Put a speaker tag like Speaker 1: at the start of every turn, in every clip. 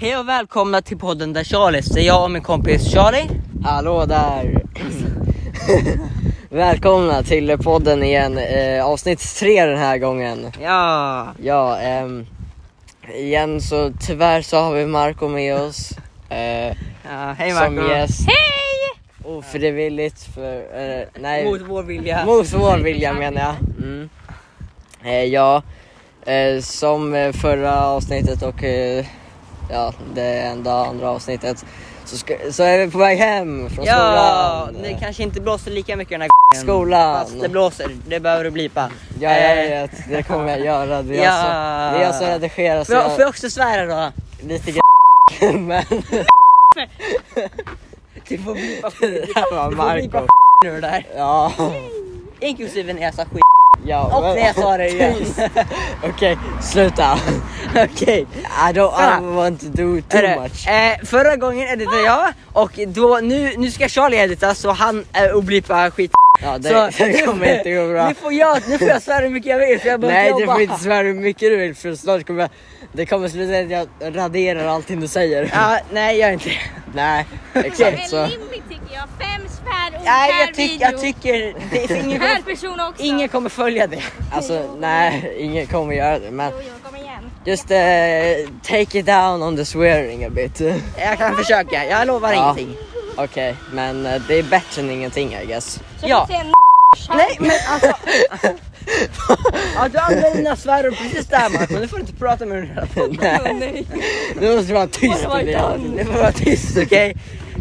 Speaker 1: Hej och välkomna till podden där Charles. Det är jag och min kompis Charlie.
Speaker 2: Hallå där! Välkomna till podden igen, eh, avsnitt tre den här gången.
Speaker 1: Ja.
Speaker 2: Ja, ehm, igen så tyvärr så har vi Marco med oss. Eh,
Speaker 1: ja hej
Speaker 2: som
Speaker 1: Marco.
Speaker 2: gäst. Hej! Ofrivilligt för, eh, nej.
Speaker 1: Mot vår vilja.
Speaker 2: Mot vår vilja menar jag. Mm. Eh, ja, eh, som eh, förra avsnittet och eh, ja, det enda andra avsnittet så, ska, så är vi på väg hem från
Speaker 1: ja,
Speaker 2: skolan.
Speaker 1: det kanske inte blåser lika mycket den här gången.
Speaker 2: Skolan.
Speaker 1: Fast det blåser, det behöver du blipa.
Speaker 2: Ja, jag
Speaker 1: Eh,
Speaker 2: vet. Det kommer jag göra. Det är,
Speaker 1: Ja.
Speaker 2: jag, som, det är jag som redigerar så
Speaker 1: får jag- Får
Speaker 2: jag,
Speaker 1: jag också svära då?
Speaker 2: lite grann. Men
Speaker 1: Du får blipa
Speaker 2: det här var
Speaker 1: Du får blipa
Speaker 2: Marco.
Speaker 1: Typ nu det där.
Speaker 2: Ja,
Speaker 1: Inklusive när jag sa skit.
Speaker 2: ja.
Speaker 1: Och när jag sa det igen.
Speaker 2: Okej, sluta.
Speaker 1: Okej.
Speaker 2: I don't I
Speaker 1: Kolla.
Speaker 2: want to do
Speaker 1: Hörru,
Speaker 2: too much.
Speaker 1: Eh, förra gången editade jag och då, nu, nu ska Charlie edita så han eh, och blippa skit.
Speaker 2: Ja, det,
Speaker 1: Så-
Speaker 2: det kommer inte gå bra.
Speaker 1: Nu får jag, nu får jag svära hur mycket jag vill för jag behöver
Speaker 2: Nej,
Speaker 1: inte
Speaker 2: du
Speaker 1: jobba.
Speaker 2: får inte svära hur mycket du vill för snart kommer jag... Det kommer sluta med att jag raderar allting du säger.
Speaker 1: Ja, nej gör inte det.
Speaker 2: Nej,
Speaker 3: Det
Speaker 2: exakt
Speaker 3: är
Speaker 2: så.
Speaker 3: rimligt tycker jag. Fem svärord
Speaker 1: Nej
Speaker 3: per
Speaker 1: jag, tyck,
Speaker 3: video.
Speaker 1: jag tycker, det är ingen,
Speaker 3: Per
Speaker 1: kommer,
Speaker 3: person också.
Speaker 1: ingen kommer följa det.
Speaker 2: Alltså nej, ingen kommer göra det men
Speaker 3: Jo, jo, kom igen.
Speaker 2: just eh, take it down on the swearing a bit.
Speaker 1: Jag kan försöka, jag lovar
Speaker 2: Ja.
Speaker 1: ingenting.
Speaker 2: Okej, men eh, det är bättre än ingenting I guess.
Speaker 3: Så
Speaker 1: Ja.
Speaker 3: vi ser en
Speaker 1: Nej men alltså. ja, du använder dina svärord precis där Marco, nu får du inte prata med den här podden.
Speaker 3: Nej.
Speaker 2: Nu måste du vara tyst
Speaker 3: Oj, vad
Speaker 2: Elias.
Speaker 3: dum.
Speaker 1: Du får vara tyst okej?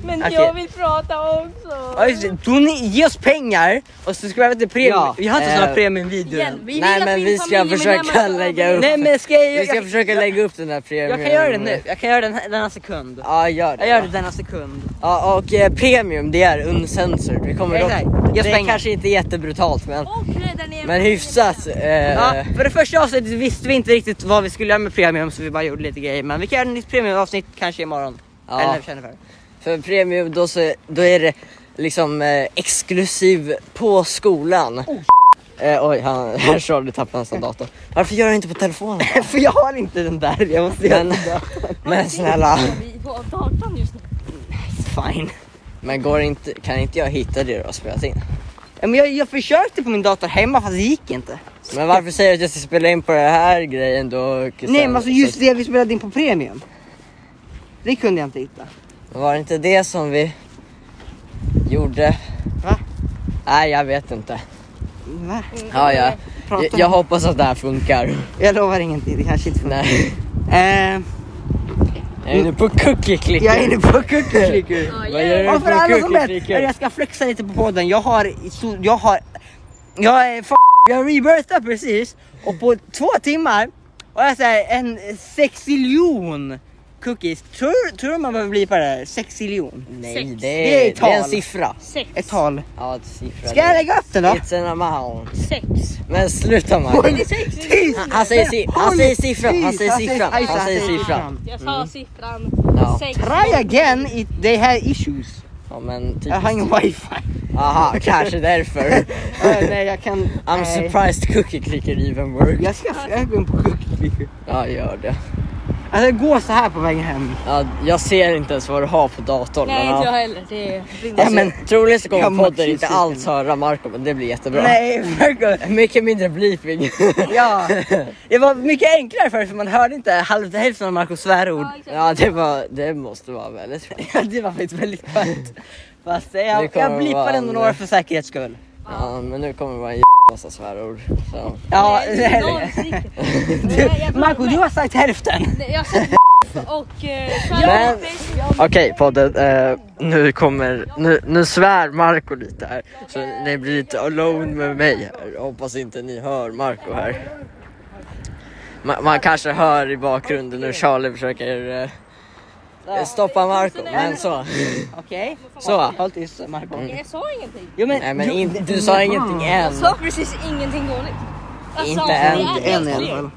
Speaker 3: Men
Speaker 1: Okej.
Speaker 3: jag vill prata också.
Speaker 1: Ja just det, Tony, ge oss pengar och så ska vi till premium.
Speaker 2: Ja,
Speaker 1: vi har inte såna
Speaker 2: eh,
Speaker 1: premiumvideor
Speaker 3: Igen,
Speaker 1: än.
Speaker 3: vi vill
Speaker 2: Nej,
Speaker 3: att
Speaker 2: men
Speaker 3: min
Speaker 2: vi ska
Speaker 3: familj
Speaker 2: försöka
Speaker 3: medlemmar ska
Speaker 2: lägga
Speaker 3: överleva.
Speaker 2: upp.
Speaker 1: Nej men ska jag,
Speaker 2: Vi
Speaker 1: jag,
Speaker 2: ska
Speaker 1: jag,
Speaker 2: försöka lägga upp den här premium.
Speaker 1: kan göra det nu, jag kan göra det den här- denna sekund.
Speaker 2: Ja, gör det.
Speaker 1: Jag gör det denna sekund.
Speaker 2: Ja, och eh, premium det är uncensored. Vi kommer dock,
Speaker 1: Exakt. Jag
Speaker 2: det är
Speaker 1: spänger.
Speaker 2: kanske inte jättebrutalt men,
Speaker 3: Och redan är
Speaker 2: men hyfsat. Eh,
Speaker 1: Ja, för det första avsnittet visste vi inte riktigt vad vi skulle göra med premium så vi bara gjorde lite grejer. Men vi kan göra ett nytt premiumavsnitt kanske imorgon.
Speaker 2: Ja.
Speaker 1: Eller känner för.
Speaker 2: För premium då, så, då är det liksom eh, exklusiv på skolan.
Speaker 1: Oh,
Speaker 2: eh, oj, han, Charlie tappade nästan datorn. Varför gör du inte på telefonen?
Speaker 1: för jag har inte den där, jag måste göra
Speaker 2: Men,
Speaker 1: den där.
Speaker 2: men snälla.
Speaker 3: Vi på datorn just nu.
Speaker 1: Fine.
Speaker 2: Men går inte, kan inte jag hitta det du har spelat in?
Speaker 1: Ja, men jag, jag försökte på min dator hemma fast det gick inte.
Speaker 2: Men varför säger du att jag ska spela in på den här grejen då? och sen-
Speaker 1: Nej men alltså just det vi spelade in på premium. Det kunde jag inte hitta.
Speaker 2: Var det inte det som vi gjorde?
Speaker 1: Va?
Speaker 2: Nej, jag vet inte.
Speaker 1: Va?
Speaker 2: Ja, ja.
Speaker 1: Prata
Speaker 2: Jag,
Speaker 1: om-
Speaker 2: jag hoppas att det här funkar.
Speaker 1: Jag lovar ingenting, det kanske inte funkar.
Speaker 2: Nej,
Speaker 1: Eh,
Speaker 2: jag är inne på cookie clicker.
Speaker 1: jag är inne på cookie
Speaker 3: Ja,
Speaker 2: Vad
Speaker 3: ja.
Speaker 2: gör du
Speaker 1: Och för
Speaker 2: på
Speaker 1: alla som
Speaker 2: cookie
Speaker 1: vet,
Speaker 2: clicker?
Speaker 1: jag ska flexa lite på podden. Jag har, så- jag har, jag är f- jag rebirthade precis och på två timmar och jag säger en sexiljon cookies. Tror, tror du man behöver bli på det här? Sexiljon?
Speaker 2: Nej,
Speaker 3: Sex.
Speaker 2: det
Speaker 1: Det är
Speaker 2: är, det är en
Speaker 1: tal.
Speaker 2: siffra.
Speaker 3: Sex.
Speaker 1: Ett tal.
Speaker 2: Ja, ett siffra.
Speaker 1: Ska jag lägga upp den då?
Speaker 2: It's an amount.
Speaker 3: Sex.
Speaker 2: Men sluta man.
Speaker 3: Det är sex.
Speaker 2: Han, han, säger, si- han säger siffran, han säger siffran, han säger siffran.
Speaker 3: Jag sa siffran.
Speaker 2: Ja.
Speaker 3: Sex.
Speaker 1: Try again if they have issues.
Speaker 2: Ja men
Speaker 1: Jag har
Speaker 2: typiskt.
Speaker 1: ingen wifi.
Speaker 2: Aha, kanske därför.
Speaker 1: Eh, nej jag kan...
Speaker 2: I'm
Speaker 1: nej.
Speaker 2: surprised cookie clicker even work.
Speaker 1: Jag ska jag gå in på cookie clicker.
Speaker 2: Ja, gör det.
Speaker 1: Alltså gå så här på vägen hem.
Speaker 2: Ja, jag ser inte ens vad du har på datorn.
Speaker 3: Nej,
Speaker 2: men,
Speaker 3: inte jag
Speaker 2: ja.
Speaker 3: heller. Det är
Speaker 2: Alltså,
Speaker 1: Ja,
Speaker 2: men, troligtvis så
Speaker 1: jag
Speaker 2: kommer
Speaker 1: mår
Speaker 2: podden inte
Speaker 1: precis
Speaker 2: alls höra Marco men det blir jättebra.
Speaker 1: Nej, verkligen.
Speaker 2: Mycket mindre bleeping.
Speaker 1: Ja, det var mycket enklare förr för man hörde inte halv, hälften av Marcos svärord.
Speaker 3: Ja, exakt.
Speaker 2: ja det, var, det måste vara väldigt skönt.
Speaker 1: Ja, det var faktiskt väldigt skönt. Fast
Speaker 2: Det
Speaker 1: jag,
Speaker 2: kommer
Speaker 1: jag blippar
Speaker 2: vara
Speaker 1: ändå
Speaker 2: andra.
Speaker 1: några för säkerhets skull.
Speaker 2: Ja, men nu kommer det vara en massa svärord. Så.
Speaker 1: Ja,
Speaker 3: Nej, det är noll stycken. Nej, jag
Speaker 1: du,
Speaker 3: tror-
Speaker 1: Marco, du har sagt hälften.
Speaker 3: Nej, Jag sa och... eh,
Speaker 2: Men-
Speaker 3: Charlotte-
Speaker 2: Okej podden, eh, nu kommer, nu, nu svär Marco lite här. Så ni blir lite alone med mig här. Jag Hoppas inte ni hör Marco här. Ma- man kanske hör i bakgrunden hur Charlie försöker eh, stoppa Marco, men så.
Speaker 1: Okej,
Speaker 2: Så.
Speaker 1: håll tyst Marco.
Speaker 3: Jag sa ingenting.
Speaker 1: Jo,
Speaker 2: Nej men in, du sa ingenting än.
Speaker 3: Jag sa precis ingenting dåligt. Jag sa
Speaker 2: Mm. Inte
Speaker 3: så,
Speaker 2: än,
Speaker 3: det är
Speaker 2: inte än
Speaker 3: helt
Speaker 2: i alla
Speaker 3: fel.
Speaker 2: fall.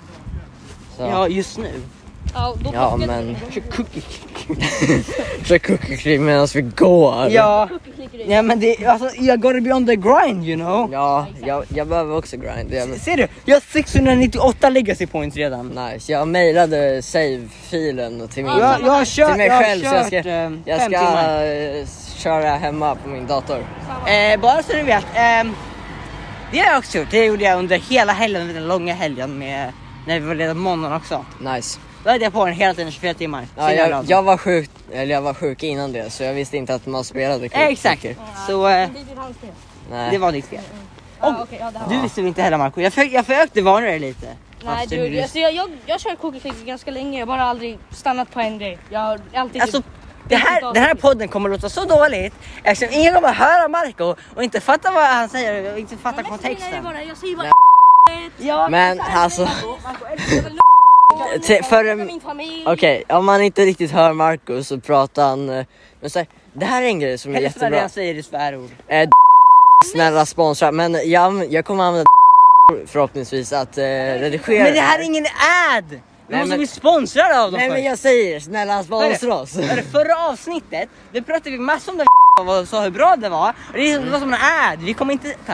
Speaker 2: Så.
Speaker 1: Ja, just nu.
Speaker 3: Ja, då
Speaker 2: Ja,
Speaker 3: plockade
Speaker 2: men-
Speaker 3: vi den.
Speaker 1: Cookie.
Speaker 2: Kör cookie medan vi går.
Speaker 1: Ja,
Speaker 3: Cookie-grej.
Speaker 1: ja men det, alltså jag gotta be on the grind you know.
Speaker 2: Ja, jag, jag behöver också grind. Jag,
Speaker 1: Ser du? Jag har 698 legacy points redan.
Speaker 2: nice. Jag mejlade save-filen till min,
Speaker 1: Jag, jag har kört,
Speaker 2: till mig
Speaker 1: jag har
Speaker 2: själv så jag
Speaker 1: kört
Speaker 2: ska,
Speaker 1: eh,
Speaker 2: jag
Speaker 1: fem
Speaker 2: ska
Speaker 1: timmar.
Speaker 2: eh, köra hemma på min dator.
Speaker 1: Eh, bara så du vet. ehm, det har jag också gjort. Det gjorde jag under hela helgen, den långa helgen med när vi var lediga på måndagen också.
Speaker 2: Nice.
Speaker 1: Då hade jag på den hela tiden 24 timmar.
Speaker 2: Ja,
Speaker 1: Så
Speaker 2: jag,
Speaker 1: glad.
Speaker 2: jag var sjuk, eller jag var sjuk innan det så jag visste inte att man spelade
Speaker 1: Eh, Exakt.
Speaker 2: cookie.
Speaker 1: Så eh,
Speaker 3: Men Det är ditt handskrift.
Speaker 2: Nej.
Speaker 1: det var ditt fel.
Speaker 3: Ja, okej, ja, det här
Speaker 1: Du
Speaker 3: var-
Speaker 1: visste väl inte heller Marco? Jag, för, jag försökte varna dig lite.
Speaker 3: Nej,
Speaker 1: Fast det
Speaker 3: du,
Speaker 1: blir-
Speaker 3: alltså, jag, jag, jag kör cookie clicker ganska länge. Jag har bara aldrig stannat på en grej. Jag har alltid...
Speaker 1: Alltså,
Speaker 3: typ-
Speaker 1: det här, den här podden kommer låta så dåligt eftersom ingen kommer höra Marco och inte fatta vad han säger och inte fatta
Speaker 3: Men så menar jag
Speaker 1: kontexten.
Speaker 3: bara, Jag säger bara
Speaker 1: Ja,
Speaker 2: Men alltså, Till- för en-
Speaker 3: min familj.
Speaker 2: okej, om man inte riktigt hör Marco så pratar han... eh, Men så här, det här är en grej som är
Speaker 1: hälften av det
Speaker 2: jättebra.
Speaker 1: han säger är svärord.
Speaker 2: Eh, snälla sponsra, men jag, jag kommer använda förhoppningsvis att eh, redigera
Speaker 1: Men det här är ingen ad! Vi
Speaker 2: Nej,
Speaker 1: måste
Speaker 2: men-
Speaker 1: bli sponsrade av dem
Speaker 2: Nej
Speaker 1: först.
Speaker 2: men jag säger, snälla sponsra oss!
Speaker 1: Hörru, Förra avsnittet, då pratade vi massor om det och sa hur bra det var. Och det är- det var som en ad, vi kommer inte... ta-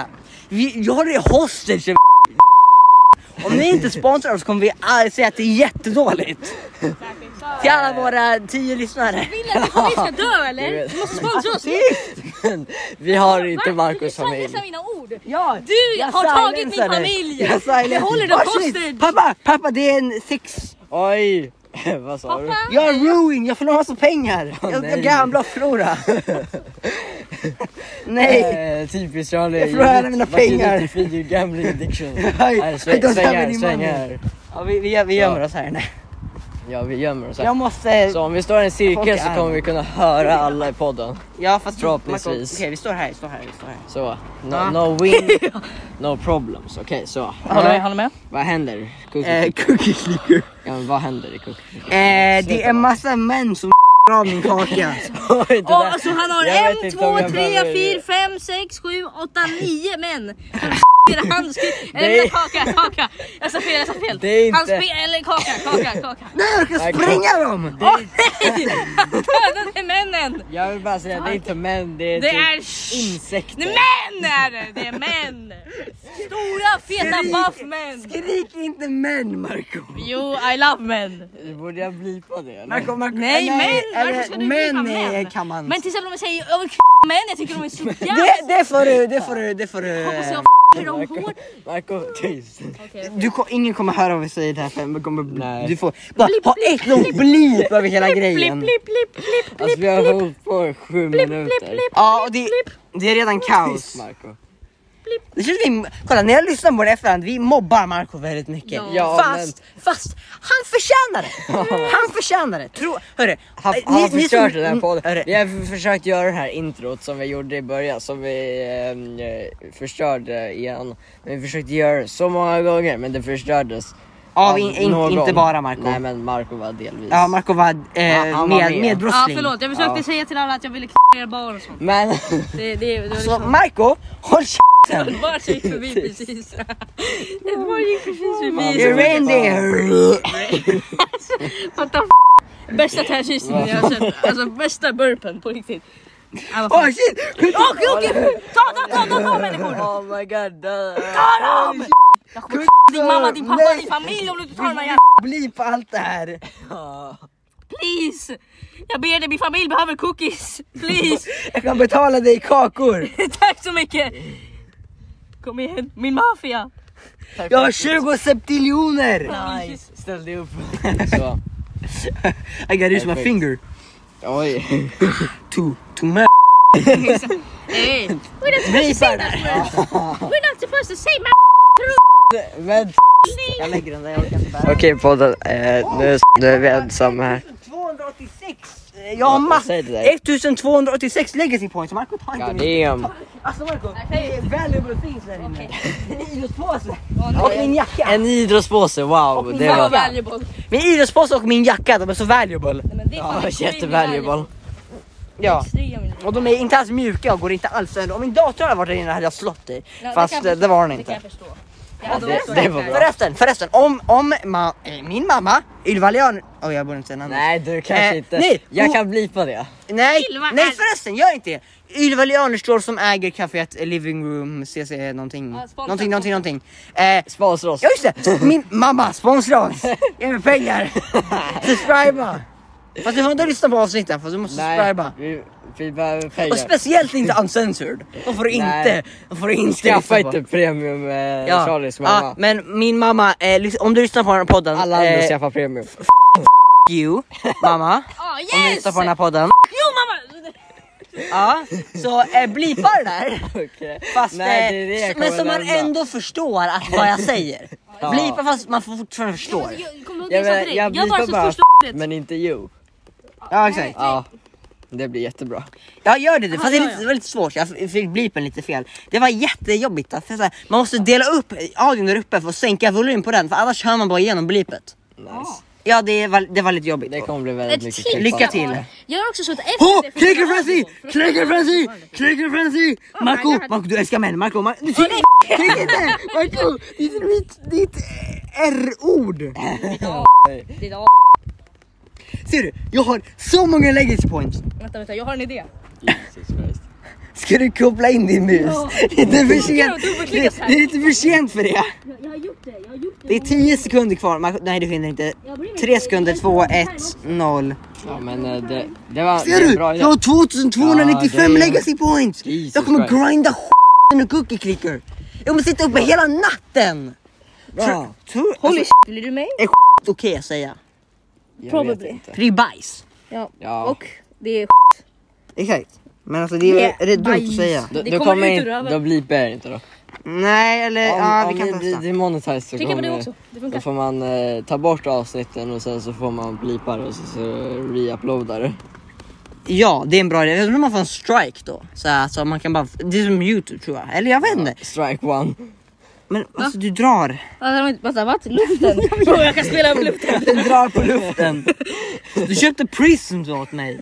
Speaker 1: Vi, jag har det hostage av Om ni inte sponsrar oss kommer vi all- säga att det är jättedåligt. Till alla våra tio lyssnare.
Speaker 3: Vill att din familj ska dö eller?
Speaker 2: Jag vet.
Speaker 3: Du måste sponsra oss.
Speaker 2: Vi har inte
Speaker 3: Va?
Speaker 2: Marcos
Speaker 3: Du
Speaker 2: familj.
Speaker 3: silencear mina ord.
Speaker 1: Ja,
Speaker 3: Du
Speaker 1: jag
Speaker 3: har tagit
Speaker 1: silencear
Speaker 3: min
Speaker 1: dig.
Speaker 3: familj.
Speaker 1: Jag silencear-
Speaker 3: Jag håller dig
Speaker 1: Varsågod.
Speaker 3: hostage.
Speaker 1: Pappa, pappa det är en sex...
Speaker 2: Oj! Vad sa du?
Speaker 3: Pappa.
Speaker 1: Jag är ruin, jag förlorar massa pengar. jag jag
Speaker 2: nej.
Speaker 1: gamblar och förlorar. nej.
Speaker 2: Eh, typiskt Charlie.
Speaker 1: Jag förlorar alla mina
Speaker 2: Vad är det
Speaker 1: pengar.
Speaker 2: till Video gambling addiction.
Speaker 1: Hej, I
Speaker 2: Här,
Speaker 1: don't
Speaker 2: sväng,
Speaker 1: have
Speaker 2: sväng här,
Speaker 1: any
Speaker 2: sväng
Speaker 1: money.
Speaker 2: här.
Speaker 1: Ja, vi, vi, vi gömmer oss här inne.
Speaker 2: Ja vi gömmer oss här.
Speaker 1: Jag måste...
Speaker 2: Så om vi står i en cirkel så kommer vi kunna höra alla i podden.
Speaker 1: Ja fast
Speaker 2: Förhoppningsvis.
Speaker 1: Marco, Okej vi står här, vi står här, vi står här.
Speaker 2: Så,
Speaker 1: Ja.
Speaker 3: Ah.
Speaker 2: no, no win, no problems. Okej så.
Speaker 3: håller med.
Speaker 2: Vad händer? Cookie.
Speaker 1: Eh, cookie clicker.
Speaker 2: Ja, men vad händer i cookie?
Speaker 1: Eh, det är massa män som av min kaka.
Speaker 2: Oj, det där-
Speaker 3: alltså han har
Speaker 2: Jag vet
Speaker 3: en,
Speaker 2: inte om
Speaker 3: två,
Speaker 2: jag
Speaker 3: tre,
Speaker 2: behöver-
Speaker 3: fyra, fem, sex, sju, åtta, nio män. Spelar handskri-
Speaker 2: Det är-
Speaker 3: Eller kaka, kaka. Jag sa fel, jag sa fel.
Speaker 2: Det är inte-
Speaker 3: Han spe- eller kaka, kaka, kaka.
Speaker 1: Nej jag ska
Speaker 2: Marco.
Speaker 1: spränga dem!
Speaker 2: Det är,
Speaker 3: Han dödade männen.
Speaker 2: jag vill bara säga det är inte män, det är,
Speaker 3: Det
Speaker 2: typ
Speaker 3: är...
Speaker 2: insekter.
Speaker 3: Män är det! Det är män! Stora feta buff män!
Speaker 1: Skrik inte män Marco!
Speaker 3: Jo, I love men!
Speaker 2: Borde jag blipa det eller?
Speaker 1: Marco, Marco
Speaker 3: Nej, män!
Speaker 1: eller,
Speaker 3: Varför ska du
Speaker 1: män,
Speaker 3: gripa män?
Speaker 1: är- kan man...
Speaker 3: Men till exempel om jag säger över k- män, jag tycker de är så
Speaker 1: det,
Speaker 3: jävla...
Speaker 1: det får du, det får du, det får du...
Speaker 3: Hoppas jag f***ar dem hårt!
Speaker 2: Marco, tyst.
Speaker 1: Du, ko- ingen kommer höra vad vi säger där för vi kommer...
Speaker 2: Nej.
Speaker 1: Du får bara ha ett långt blip över hela grejen.
Speaker 2: Alltså vi har hållit på i sju minuter.
Speaker 1: Ja och det, det är redan kaos.
Speaker 2: Tyst Marco.
Speaker 1: Äh, Det känns vi, kolla när jag lyssnar på det i efterhand, vi mobbar Marco väldigt mycket.
Speaker 2: Ja,
Speaker 1: fast, fast han förtjänar det! Han förtjänar det! Tro, hörru,
Speaker 2: Han,
Speaker 1: eh,
Speaker 2: han har förstört
Speaker 1: som-
Speaker 2: den här podden.
Speaker 1: hörru,
Speaker 2: Vi har försökt göra det här introt som vi gjorde i början, som vi ehm, eh, förstörde igen. Men vi försökte göra det så många gånger, men det förstördes.
Speaker 1: Av in, in,
Speaker 2: någon.
Speaker 1: inte bara Marco.
Speaker 2: Nej men Marco var delvis.
Speaker 1: Ja, Marco var, eh,
Speaker 2: Han- han var
Speaker 1: med,
Speaker 2: med.
Speaker 3: Ja
Speaker 1: medbrottsling.
Speaker 3: förlåt, jag försökte
Speaker 2: Ja.
Speaker 3: säga till alla att jag ville k- er barn och sånt.
Speaker 2: Men
Speaker 3: Det, det, det var
Speaker 1: Så
Speaker 3: liksom...
Speaker 1: Marco, håll
Speaker 3: Det
Speaker 1: käften!
Speaker 3: bara gick förbi precis. Det bara gick precis
Speaker 1: Det är
Speaker 2: You're
Speaker 3: förbi.
Speaker 1: reindeer!
Speaker 3: What the f***? Bästa tärnkyssningen jag har sett. Alltså bästa burpen på riktigt. Ja, vad fan.
Speaker 1: Åh shit!
Speaker 3: Okej okej! Ta, ta, ta, ta, ta människor!
Speaker 2: oh my god.
Speaker 3: Ta dem! Jag kommer f- din mamma, din pappa, din familj om du inte tar den här jävla...
Speaker 1: Bli på allt det här!
Speaker 3: Please! Jag ber dig, min familj behöver cookies! Please!
Speaker 1: Jag kan betala dig i kakor!
Speaker 3: Tack så mycket! Kom igen, min maffia!
Speaker 1: Jag har 20 septiljoner!
Speaker 3: Nice.
Speaker 2: Ställ dig upp. Så.
Speaker 1: I gotta use my
Speaker 2: Perfekt.
Speaker 1: finger
Speaker 2: Oj.
Speaker 1: to, to my...
Speaker 3: Hey. We're not supposed to say that word! We're not supposed to say my
Speaker 2: Men
Speaker 1: Jag lägger den där, jag orkar inte bära
Speaker 2: Okej podden, eh, nu, nu är vi ensamma här.
Speaker 1: 286! Eh, Jag har mass...
Speaker 2: Säg det där.
Speaker 1: 1286 legacy points. Marco ta inte min.
Speaker 2: Goddamn.
Speaker 1: Alltså Marco, det är valuable things där inne. En idrottspåse. Och
Speaker 3: name!
Speaker 1: min jacka.
Speaker 2: En idrottspåse,
Speaker 1: Och
Speaker 2: wow.
Speaker 1: min
Speaker 2: Det
Speaker 3: Fan vad
Speaker 2: var
Speaker 1: jacka.
Speaker 3: valuable!
Speaker 1: Min idrottspåse och min jacka, de är så valuable.
Speaker 3: Nej, men det är fan
Speaker 2: ja,
Speaker 3: extremely
Speaker 2: jättevaluable.
Speaker 1: Ja.
Speaker 3: Extremely.
Speaker 1: Och de är inte alls mjuka och går inte alls sönder. Om min dator hade varit där inne hade jag slått dig.
Speaker 3: Ja, det
Speaker 1: Fast
Speaker 3: kan
Speaker 1: det,
Speaker 3: jag
Speaker 1: det var den
Speaker 3: Det kan
Speaker 1: inte.
Speaker 3: jag förstå. hade
Speaker 2: Det-
Speaker 3: också
Speaker 2: det
Speaker 3: varit
Speaker 2: var
Speaker 3: där.
Speaker 2: bra.
Speaker 1: Förresten, förresten, om, om ma- eh, min mamma, Ylva Leon... Oj, jag borde inte säga namnet.
Speaker 2: Nej du kanske
Speaker 1: Eh,
Speaker 2: inte.
Speaker 1: nej,
Speaker 2: jag
Speaker 1: o-
Speaker 2: kan blipa det.
Speaker 1: Nej,
Speaker 3: Ylva
Speaker 1: nej
Speaker 3: är-
Speaker 1: förresten, gör inte det! Ylva Leanerstrål som äger kaféet eh, Living Room CC någonting,
Speaker 3: Ja, sponsra,
Speaker 1: någonting, någonting,
Speaker 3: sponsra.
Speaker 1: någonting. Eh,
Speaker 2: Sponsra oss.
Speaker 1: ja just det! Min mamma, sponsra oss! Ge mig pengar! Subscriba! Fast du får inte lyssna på avsnitten, fast du måste subscriba.
Speaker 2: vi, vi behöver
Speaker 1: Och
Speaker 2: pengar.
Speaker 1: speciellt inte uncensored. Då får du inte,
Speaker 2: Nej.
Speaker 1: då får du inte
Speaker 2: Skaffa
Speaker 1: lyssna på.
Speaker 2: inte premium eh, Charlies mamma.
Speaker 1: Ja, men min mamma, eh, lys- om du lyssnar på den här podden,
Speaker 2: Alla andra
Speaker 1: eh,
Speaker 2: skaffar premium.
Speaker 1: you, mamma.
Speaker 3: Ah,
Speaker 1: Om du
Speaker 3: yes!
Speaker 1: lyssnar på den här podden,
Speaker 3: Jo mamma! Alltså,
Speaker 1: ja, så eh, blipa det där.
Speaker 2: Okej.
Speaker 1: Fast,
Speaker 2: Nej,
Speaker 1: eh,
Speaker 2: det är det jag
Speaker 1: men
Speaker 2: kommer
Speaker 1: som man
Speaker 2: nämna.
Speaker 1: ändå förstår att vad jag säger.
Speaker 2: Ja.
Speaker 1: Blipa fast man fortfarande förstår.
Speaker 3: Jag, jag kommer ihåg
Speaker 2: Jag,
Speaker 3: jag sa
Speaker 2: menar,
Speaker 3: till dig,
Speaker 2: jag
Speaker 3: jag alltså bara
Speaker 2: blipar
Speaker 3: så
Speaker 2: bara
Speaker 3: första ordet.
Speaker 2: men inte you.
Speaker 1: Ja exakt.
Speaker 2: Ja. Det blir jättebra.
Speaker 1: Ja gör det, det. fast det, är
Speaker 3: ja,
Speaker 1: lite,
Speaker 3: ja.
Speaker 1: det var lite svårt, jag f- fick blipen lite fel. Det var jättejobbigt, för så här, man måste dela upp audion där uppe för att sänka volymen på den för annars hör man bara igenom blipet.
Speaker 2: Nice.
Speaker 1: Ja det var, det var lite jobbigt.
Speaker 2: Det kommer bli
Speaker 3: Ett
Speaker 2: väldigt mycket
Speaker 3: till.
Speaker 1: Lycka
Speaker 2: klippande.
Speaker 1: till.
Speaker 3: Jag har också så att efter
Speaker 1: Åh!
Speaker 3: det-
Speaker 1: Clicker frenzy! Clicker frenzy! Clicker frenzy! Marco,
Speaker 3: my God.
Speaker 1: Marco du älskar män, Marco! Mar- du ser Tänk inte! Marco, ditt, ditt, ditt eh, R-ord!
Speaker 3: Det är-
Speaker 1: Ser du? Jag har så många legacy points.
Speaker 3: Vänta, vänta, jag har en idé.
Speaker 2: Jesus Christ.
Speaker 1: Ska du koppla in din mus?
Speaker 3: Ja.
Speaker 1: Det är inte för sent.
Speaker 3: du får
Speaker 1: Det,
Speaker 3: klicka så här.
Speaker 1: det är lite för sent för det.
Speaker 3: Jag, jag har gjort det, jag har gjort
Speaker 1: Det är 10 sekunder kvar. Marco, nej du hinner inte. 3 sekunder, 2, 1, 0.
Speaker 2: Ja men eh, det, det var
Speaker 1: Ser
Speaker 2: det var
Speaker 1: du?
Speaker 2: bra idé.
Speaker 1: Jag har 2295
Speaker 2: Ja, det är-
Speaker 1: legacy points.
Speaker 2: Jesus
Speaker 1: jag kommer
Speaker 2: Christ.
Speaker 1: grinda skiten ur cookie clicker. Jag kommer sitta uppe hela natten.
Speaker 2: Bra.
Speaker 1: Tror,
Speaker 3: Holy
Speaker 1: alltså,
Speaker 3: Vill du mig?
Speaker 1: okej att säga.
Speaker 2: Jag
Speaker 3: Probably.
Speaker 2: vet inte.
Speaker 1: För det är bajs.
Speaker 3: Ja.
Speaker 2: Ja.
Speaker 3: Och det är
Speaker 1: Exakt. Men alltså det är,
Speaker 3: Yeah,
Speaker 1: är det dumt att
Speaker 3: bajs.
Speaker 1: säga.
Speaker 2: Då,
Speaker 3: Det
Speaker 2: då
Speaker 3: kommer
Speaker 2: kommer
Speaker 3: ut ur
Speaker 2: in,
Speaker 3: röven.
Speaker 2: då blipar jag inte då. Om,
Speaker 1: Nej eller ja vi kan
Speaker 2: om vi
Speaker 1: testa.
Speaker 2: blir demonetized så
Speaker 3: Klicka på det
Speaker 2: kommer-
Speaker 3: också. Det
Speaker 2: Då
Speaker 3: funkar.
Speaker 2: får man eh, ta bort avsnitten och sen så får man blipa det och sen så reuploada det.
Speaker 1: Ja det är en bra idé. Jag tror man får en strike då. Så här, så man kan bara, det är som youtube tror jag. Eller jag vet inte.
Speaker 2: Strike one.
Speaker 1: Men alltså du drar.
Speaker 3: Vänta, vänta, vad? Luften? Bro, jag kan spela med luften.
Speaker 1: Du drar på luften. Du köpte prisms åt mig.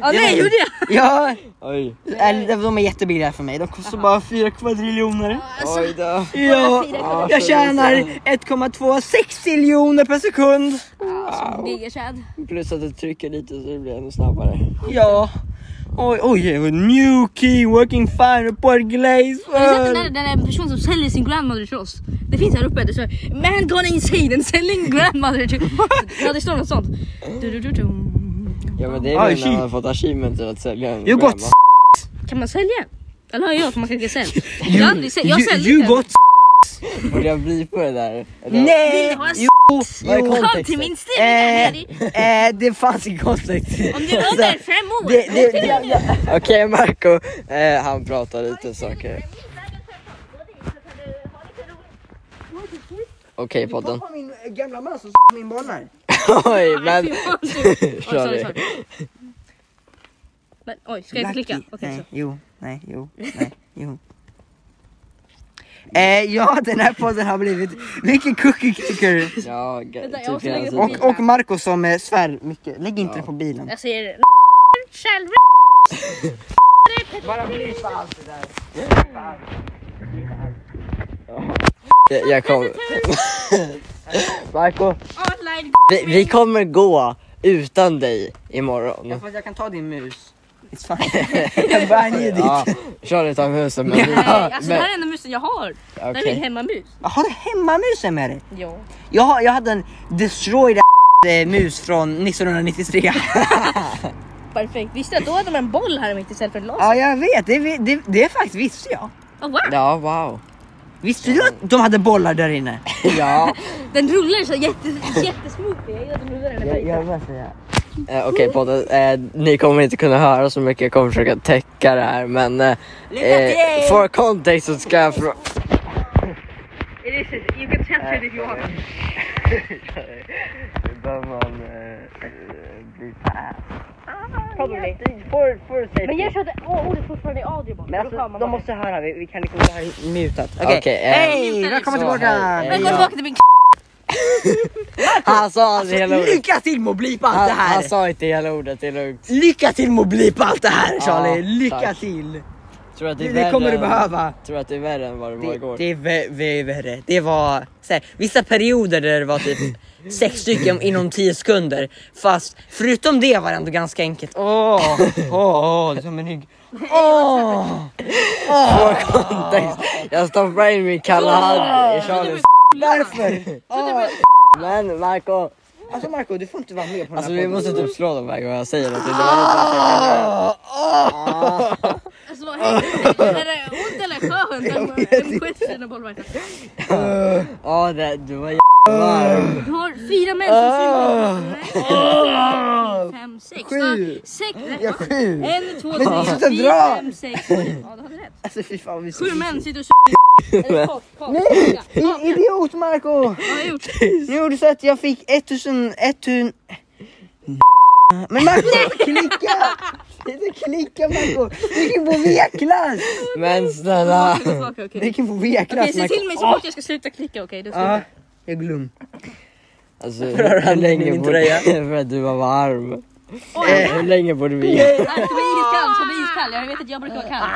Speaker 3: Ja, nej, gjorde jag?
Speaker 1: Ja,
Speaker 2: Oj.
Speaker 1: eller, de är jättebilliga för mig. De kostar bara 4 kvadriljoner.
Speaker 3: Alltså-
Speaker 2: Oj då.
Speaker 1: Ja,
Speaker 2: Ja,
Speaker 1: jag
Speaker 2: så-
Speaker 1: tjänar 1,26 miljoner per sekund.
Speaker 3: Ah. Gigatjad.
Speaker 2: Plus att du trycker lite så det blir ännu snabbare.
Speaker 1: Ja. Oj, oj, new key working fine report glaze.
Speaker 3: Har du sett den där, den där personen som säljer sin grandmother till oss? Det finns här uppe. Det står man gone insane and selling grandmother to... Ja, det står något sånt. Du, du, du, du.
Speaker 2: Ja men det
Speaker 1: Ah,
Speaker 2: är väl när
Speaker 1: shit.
Speaker 2: man har fått achievementen att sälja en
Speaker 1: You got
Speaker 2: grandma.
Speaker 1: s-
Speaker 3: Kan man sälja? Eller har jag hört att man kan sälja? Jag har aldrig sälj. Jag
Speaker 1: you,
Speaker 3: säljer
Speaker 1: you got s-
Speaker 2: Borde jag blipa det där? Eller?
Speaker 1: Nej!
Speaker 3: Vill ha s-
Speaker 1: Jo,
Speaker 2: Vad är
Speaker 1: jo.
Speaker 2: kon-
Speaker 3: Kom till min stuga Harry.
Speaker 1: Eh, eh, det fanns i kontext.
Speaker 3: Om du är under fem år.
Speaker 1: alltså, Det, det, det,
Speaker 2: Okej Marco, eh, han pratar lite saker. Okej podden.
Speaker 1: min eh, gamla man som min boll här.
Speaker 2: Oj men...
Speaker 3: Oj, sorry,
Speaker 2: Sorry.
Speaker 3: sorry. Men, oj, ska jag klicka? Okej, så.
Speaker 1: nej, jo, nej, jo, nej, jo. Eh, ja, den här podden har blivit mycket cookie clicker.
Speaker 2: Ja, g-
Speaker 3: Vänta, jag
Speaker 2: typ
Speaker 3: måste
Speaker 2: hela
Speaker 3: lägga
Speaker 2: tiden.
Speaker 3: på
Speaker 1: Och, och Marco som eh, svär mycket. Lägg inte
Speaker 2: Ja.
Speaker 1: det på bilen.
Speaker 3: Jag säger själv.
Speaker 2: Jag, jag kommer... Marco,
Speaker 3: Online.
Speaker 2: vi, vi kommer gå utan dig imorgon.
Speaker 1: fast jag kan ta din mus. It's fine. jag bär ner dit.
Speaker 2: Ja, kör ett av husen men...
Speaker 3: Nej, alltså det
Speaker 2: men-
Speaker 3: här är enda musen jag har. Det här är
Speaker 2: okej.
Speaker 3: min hemmamus.
Speaker 1: Har du hemmamusen med dig?
Speaker 3: Ja.
Speaker 1: Jag, har- jag hade en destroyed eh, mus från 1993.
Speaker 3: Perfekt. Visste du att då hade man en boll här mitt istället för en laser?
Speaker 1: ja, jag vet. Det, vi- det, det är faktiskt visste jag.
Speaker 3: Oh, wow.
Speaker 2: Ja, wow.
Speaker 1: Visste du att de hade bollar där inne?
Speaker 2: Ja,
Speaker 3: Den rullar så jätte, jättesmoothie. Jag gillar att den rullar den här
Speaker 1: vill bara säga.
Speaker 2: eh, okej podden. Eh, ni kommer inte kunna höra så mycket, jag kommer försöka täcka det här men... Eh, eh, for context så ska jag... Frå-
Speaker 3: You can censor it if you want.
Speaker 2: Behöver man... bli
Speaker 3: Probably.
Speaker 1: For, for
Speaker 3: Men jag körde ordet fortfarande i audiobok.
Speaker 1: Men alltså de måste höra, vi, vi kan liksom det här är mutat. Okej,
Speaker 2: Okej, eh,
Speaker 1: hej! Välkommen
Speaker 2: så,
Speaker 1: tillbaka!
Speaker 2: hej, hej.
Speaker 3: Men gå
Speaker 2: Ja.
Speaker 3: tillbaka till min
Speaker 2: Han sa alltså, hela ordet.
Speaker 1: Lycka till med att blipa allt
Speaker 2: Han,
Speaker 1: det här!
Speaker 2: han sa inte hela ordet, det är lugnt.
Speaker 1: Lycka till med att blipa allt det här Charlie!
Speaker 2: Ja,
Speaker 1: Lycka
Speaker 2: tack.
Speaker 1: till!
Speaker 2: Tror att det, eh, är
Speaker 1: Det kommer
Speaker 2: värre
Speaker 1: du
Speaker 2: än-
Speaker 1: behöva.
Speaker 2: Tror att det är värre än vad det var
Speaker 1: Det,
Speaker 2: igår?
Speaker 1: det är vä- vä- värre. Det var så här, vissa perioder där det var typ sex stycken inom tio sekunder. Fast förutom det var det ändå ganska enkelt. Åh, åh, åh, det är som en rygg. Åh!
Speaker 2: Får kontext. Jag stoppar in min kalla hand i Charlies
Speaker 1: Varför? Åh.
Speaker 2: Men Marco.
Speaker 1: Alltså Marco, du får inte vara med på den
Speaker 2: Alltså
Speaker 1: här
Speaker 2: vi
Speaker 1: podden.
Speaker 2: måste typ slå dem varje gång jag säger någonting. Det var inte så jag kan göra. Ah,
Speaker 3: Alltså vad händer? Är det ont eller skönt? En skit i dina bollverkar.
Speaker 2: Ja ah, det, du var varm.
Speaker 3: Du har fyra män som simmar. Nej, Fem, sex.
Speaker 1: Ah. Sju.
Speaker 3: Ja, Sex.
Speaker 1: Ja, sju.
Speaker 3: En, två,
Speaker 1: Men du
Speaker 3: tre,
Speaker 1: slutar
Speaker 3: fyra,
Speaker 1: dra.
Speaker 3: fem, sex. sju. Ja, du hade rätt.
Speaker 1: Alltså fy fan. Vi
Speaker 3: Sju män sitter och suger. Eller kak, kak. Nej!
Speaker 1: I- Idiot Marco!
Speaker 3: Vad har jag gjort?
Speaker 1: Nu gjorde så att jag fick 1000, 1000... Men Marco, klicka! Sluta klicka Marco! Du gick ju på V-klass!
Speaker 2: Men snälla.
Speaker 3: Tillbaka, tillbaka,
Speaker 1: Du
Speaker 3: Okej,
Speaker 1: gick ju på V-klass
Speaker 3: Okej, säg till mig så fort jag ska sluta klicka. Okej, då
Speaker 1: Ja,
Speaker 3: slutar
Speaker 1: jag glömde.
Speaker 2: Alltså
Speaker 1: har
Speaker 2: hur
Speaker 1: du
Speaker 2: länge
Speaker 1: min
Speaker 2: borde...
Speaker 1: tröja?
Speaker 2: För att du var varm.
Speaker 3: jag. Oj,
Speaker 2: Hur länge borde vi...
Speaker 3: Nej, det var iskall, så det var iskall. Jag vet att jag brukar vara kall.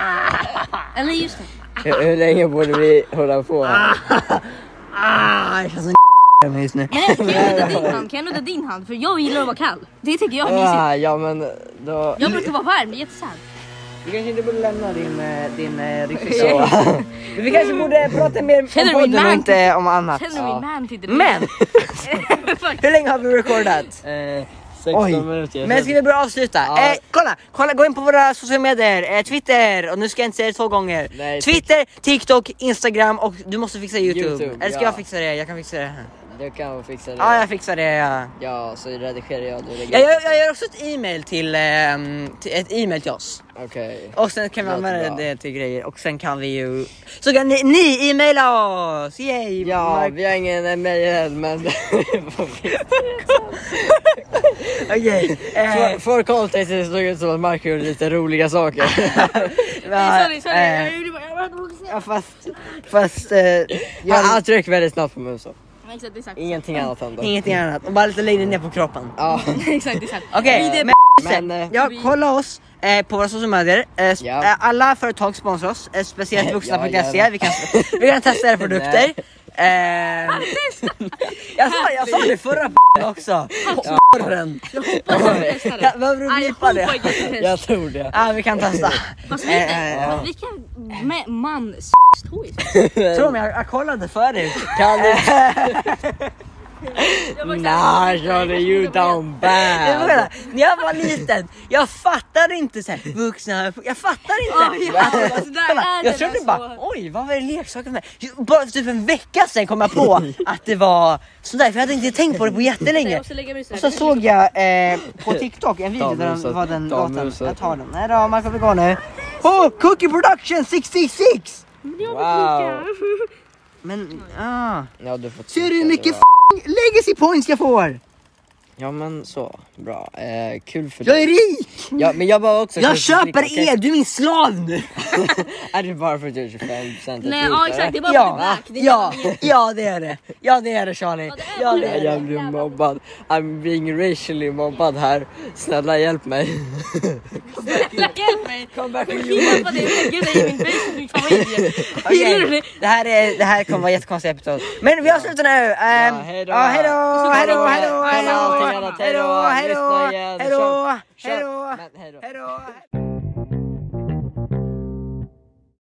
Speaker 3: Eller just det.
Speaker 2: Hur, hur länge borde vi hålla på? här?
Speaker 1: Ah, det känns som mig just nu.
Speaker 3: Nej, kan jag nudda din hand? Kan jag nudda din hand? För jag gillar att vara kall. Det tycker jag är mysigt.
Speaker 2: Ah, ja men då...
Speaker 3: Jag brukar vara varm, det är jättesant.
Speaker 1: Du kanske inte borde lämna din, eh, din eh, ryggsäck.
Speaker 2: Så.
Speaker 1: Vi kanske borde prata mer om
Speaker 3: Känner du min
Speaker 1: podden och
Speaker 3: man?
Speaker 1: inte om annat.
Speaker 3: Känner du min man till det?
Speaker 1: Ah. Men, hur länge har vi recordat?
Speaker 2: Eh, 16
Speaker 1: Oj.
Speaker 2: minuter. jag
Speaker 1: Men ska vi börja avsluta?
Speaker 2: Ja.
Speaker 1: Eh, kolla, kolla, gå in på våra sociala medier, eh, Twitter, och nu ska jag inte säga det två gånger.
Speaker 2: Nej,
Speaker 1: Twitter, TikTok, Instagram och du måste fixa Youtube.
Speaker 2: YouTube,
Speaker 1: Eller ska
Speaker 2: ja.
Speaker 1: jag fixa det? Jag kan fixa det.
Speaker 2: Du kan fixa det.
Speaker 1: Ja, jag fixar det. Ja.
Speaker 2: Ja, så redigerar jag det.
Speaker 1: Jag, gör- jag gör också ett e-mail till, ehm, till, ett e-mail till oss.
Speaker 2: Okej.
Speaker 1: Och sen kan vi
Speaker 2: Låter
Speaker 1: använda
Speaker 2: bra.
Speaker 1: det till grejer och sen kan vi ju... Så kan ni, ni e-maila oss! Yay!
Speaker 2: Ja,
Speaker 1: Mark-
Speaker 2: vi har ingen mejl än men...
Speaker 1: Okej.
Speaker 2: för,
Speaker 1: eh,
Speaker 2: för kontext det såg ut som att Marco gjorde lite roliga saker.
Speaker 1: va,
Speaker 3: Sorry, sorry.
Speaker 1: eh,
Speaker 3: Jag gjorde bara- jag bara-
Speaker 1: ja, fast... Fast... Eh,
Speaker 2: Han,
Speaker 1: jag,
Speaker 2: han tryckte väldigt snabbt på musen.
Speaker 3: Ja, Exakt, exakt.
Speaker 2: Ingenting annat hände.
Speaker 1: ingenting annat. Och bara lite längre ner på kroppen.
Speaker 2: Ja,
Speaker 3: Exakt, exakt.
Speaker 1: Okej,
Speaker 3: Vi-
Speaker 1: men...
Speaker 2: men... eh,
Speaker 1: Ja,
Speaker 3: Vi-
Speaker 1: kolla oss eh, på våra sociala medier. Eh, sp-
Speaker 2: Ja.
Speaker 1: eh, alla företag sponsrar oss, eh, speciellt vuxna.se.
Speaker 2: ja.
Speaker 1: vi, kan, vi kan testa era produkter. Eh, jag, sa, jag sa det förra p- också. Porren.
Speaker 3: Jag hoppas att vi testar
Speaker 1: Ja,
Speaker 3: det.
Speaker 1: Behöver du
Speaker 3: I
Speaker 1: blipa
Speaker 3: hope I
Speaker 1: det?
Speaker 3: get to test.
Speaker 2: Jag tror det.
Speaker 1: Ja, Ah, vi kan testa.
Speaker 3: Fast vi,
Speaker 1: Eh, eh,
Speaker 3: fast vi kan med man s toys.
Speaker 1: Tror mig, jag, jag kollade förut.
Speaker 2: Kan du...
Speaker 3: Jag bara-
Speaker 2: Nah Charlie, you down
Speaker 1: Jag
Speaker 2: bad.
Speaker 1: menar, när jag var liten, jag fattade inte så här, vuxna, jag fattade
Speaker 3: Oj,
Speaker 1: inte.
Speaker 3: ja, så där
Speaker 1: kolla, jag
Speaker 3: är det
Speaker 1: trodde
Speaker 3: alltså.
Speaker 1: bara, oj vad var det leksaker med? Bara för typ en vecka sedan kom jag på att det var sådär, för jag hade inte tänkt på det på
Speaker 3: Jag
Speaker 1: jättelänge.
Speaker 3: måste lägga mig så
Speaker 1: Och
Speaker 3: här.
Speaker 1: så såg jag eh, på TikTok en video
Speaker 2: Ta
Speaker 1: där de
Speaker 2: muset,
Speaker 1: var den
Speaker 2: ta
Speaker 1: låten.
Speaker 2: muset.
Speaker 1: Jag tar den. Nej då, Marco vi går nu. Oh, Cookie Production 66!
Speaker 2: Wow.
Speaker 1: Men, ah.
Speaker 2: Ja, du får
Speaker 1: Ser du
Speaker 2: trycka,
Speaker 1: hur
Speaker 2: det
Speaker 1: mycket
Speaker 2: var-
Speaker 1: f***ing legacy points jag får?
Speaker 2: Ja men så, bra. Eh, kul för
Speaker 1: Jag är
Speaker 2: dig.
Speaker 1: rik!
Speaker 2: Ja, men jag bara också...
Speaker 1: Jag
Speaker 2: kanske fick-
Speaker 1: köper
Speaker 2: okej.
Speaker 1: er, du är min slav nu!
Speaker 2: Är det bara för att du är 25%
Speaker 3: Nej,
Speaker 2: vit,
Speaker 3: ja
Speaker 2: eller?
Speaker 3: exakt. Det är bara för
Speaker 1: Ja,
Speaker 3: att det är black. Det är
Speaker 1: ja, ja det är det. Ja det är det Charlie. Ja det är det.
Speaker 2: Jag blir mobbad. I'm being racially mobbad här. Snälla hjälp mig.
Speaker 3: Snälla hjälp mig! Jag kidnappar dig och lägger dig i min basement-familj. Gillar du
Speaker 1: Okej,
Speaker 3: det?
Speaker 1: det här, är, det här kommer vara jättekonstiga episod. Men vi avslutar nu! Ehm,
Speaker 2: Ja, hejdå.
Speaker 1: ja, hejdå, hejdå, hejdå, hejdå,
Speaker 2: Kolla allting annat. Hejdå,
Speaker 1: hejdå, hejdå,
Speaker 2: lyssna igen.
Speaker 1: hejdå,
Speaker 2: Köp, köp.
Speaker 1: hejdå,
Speaker 2: Men hejdå.
Speaker 1: hejdå.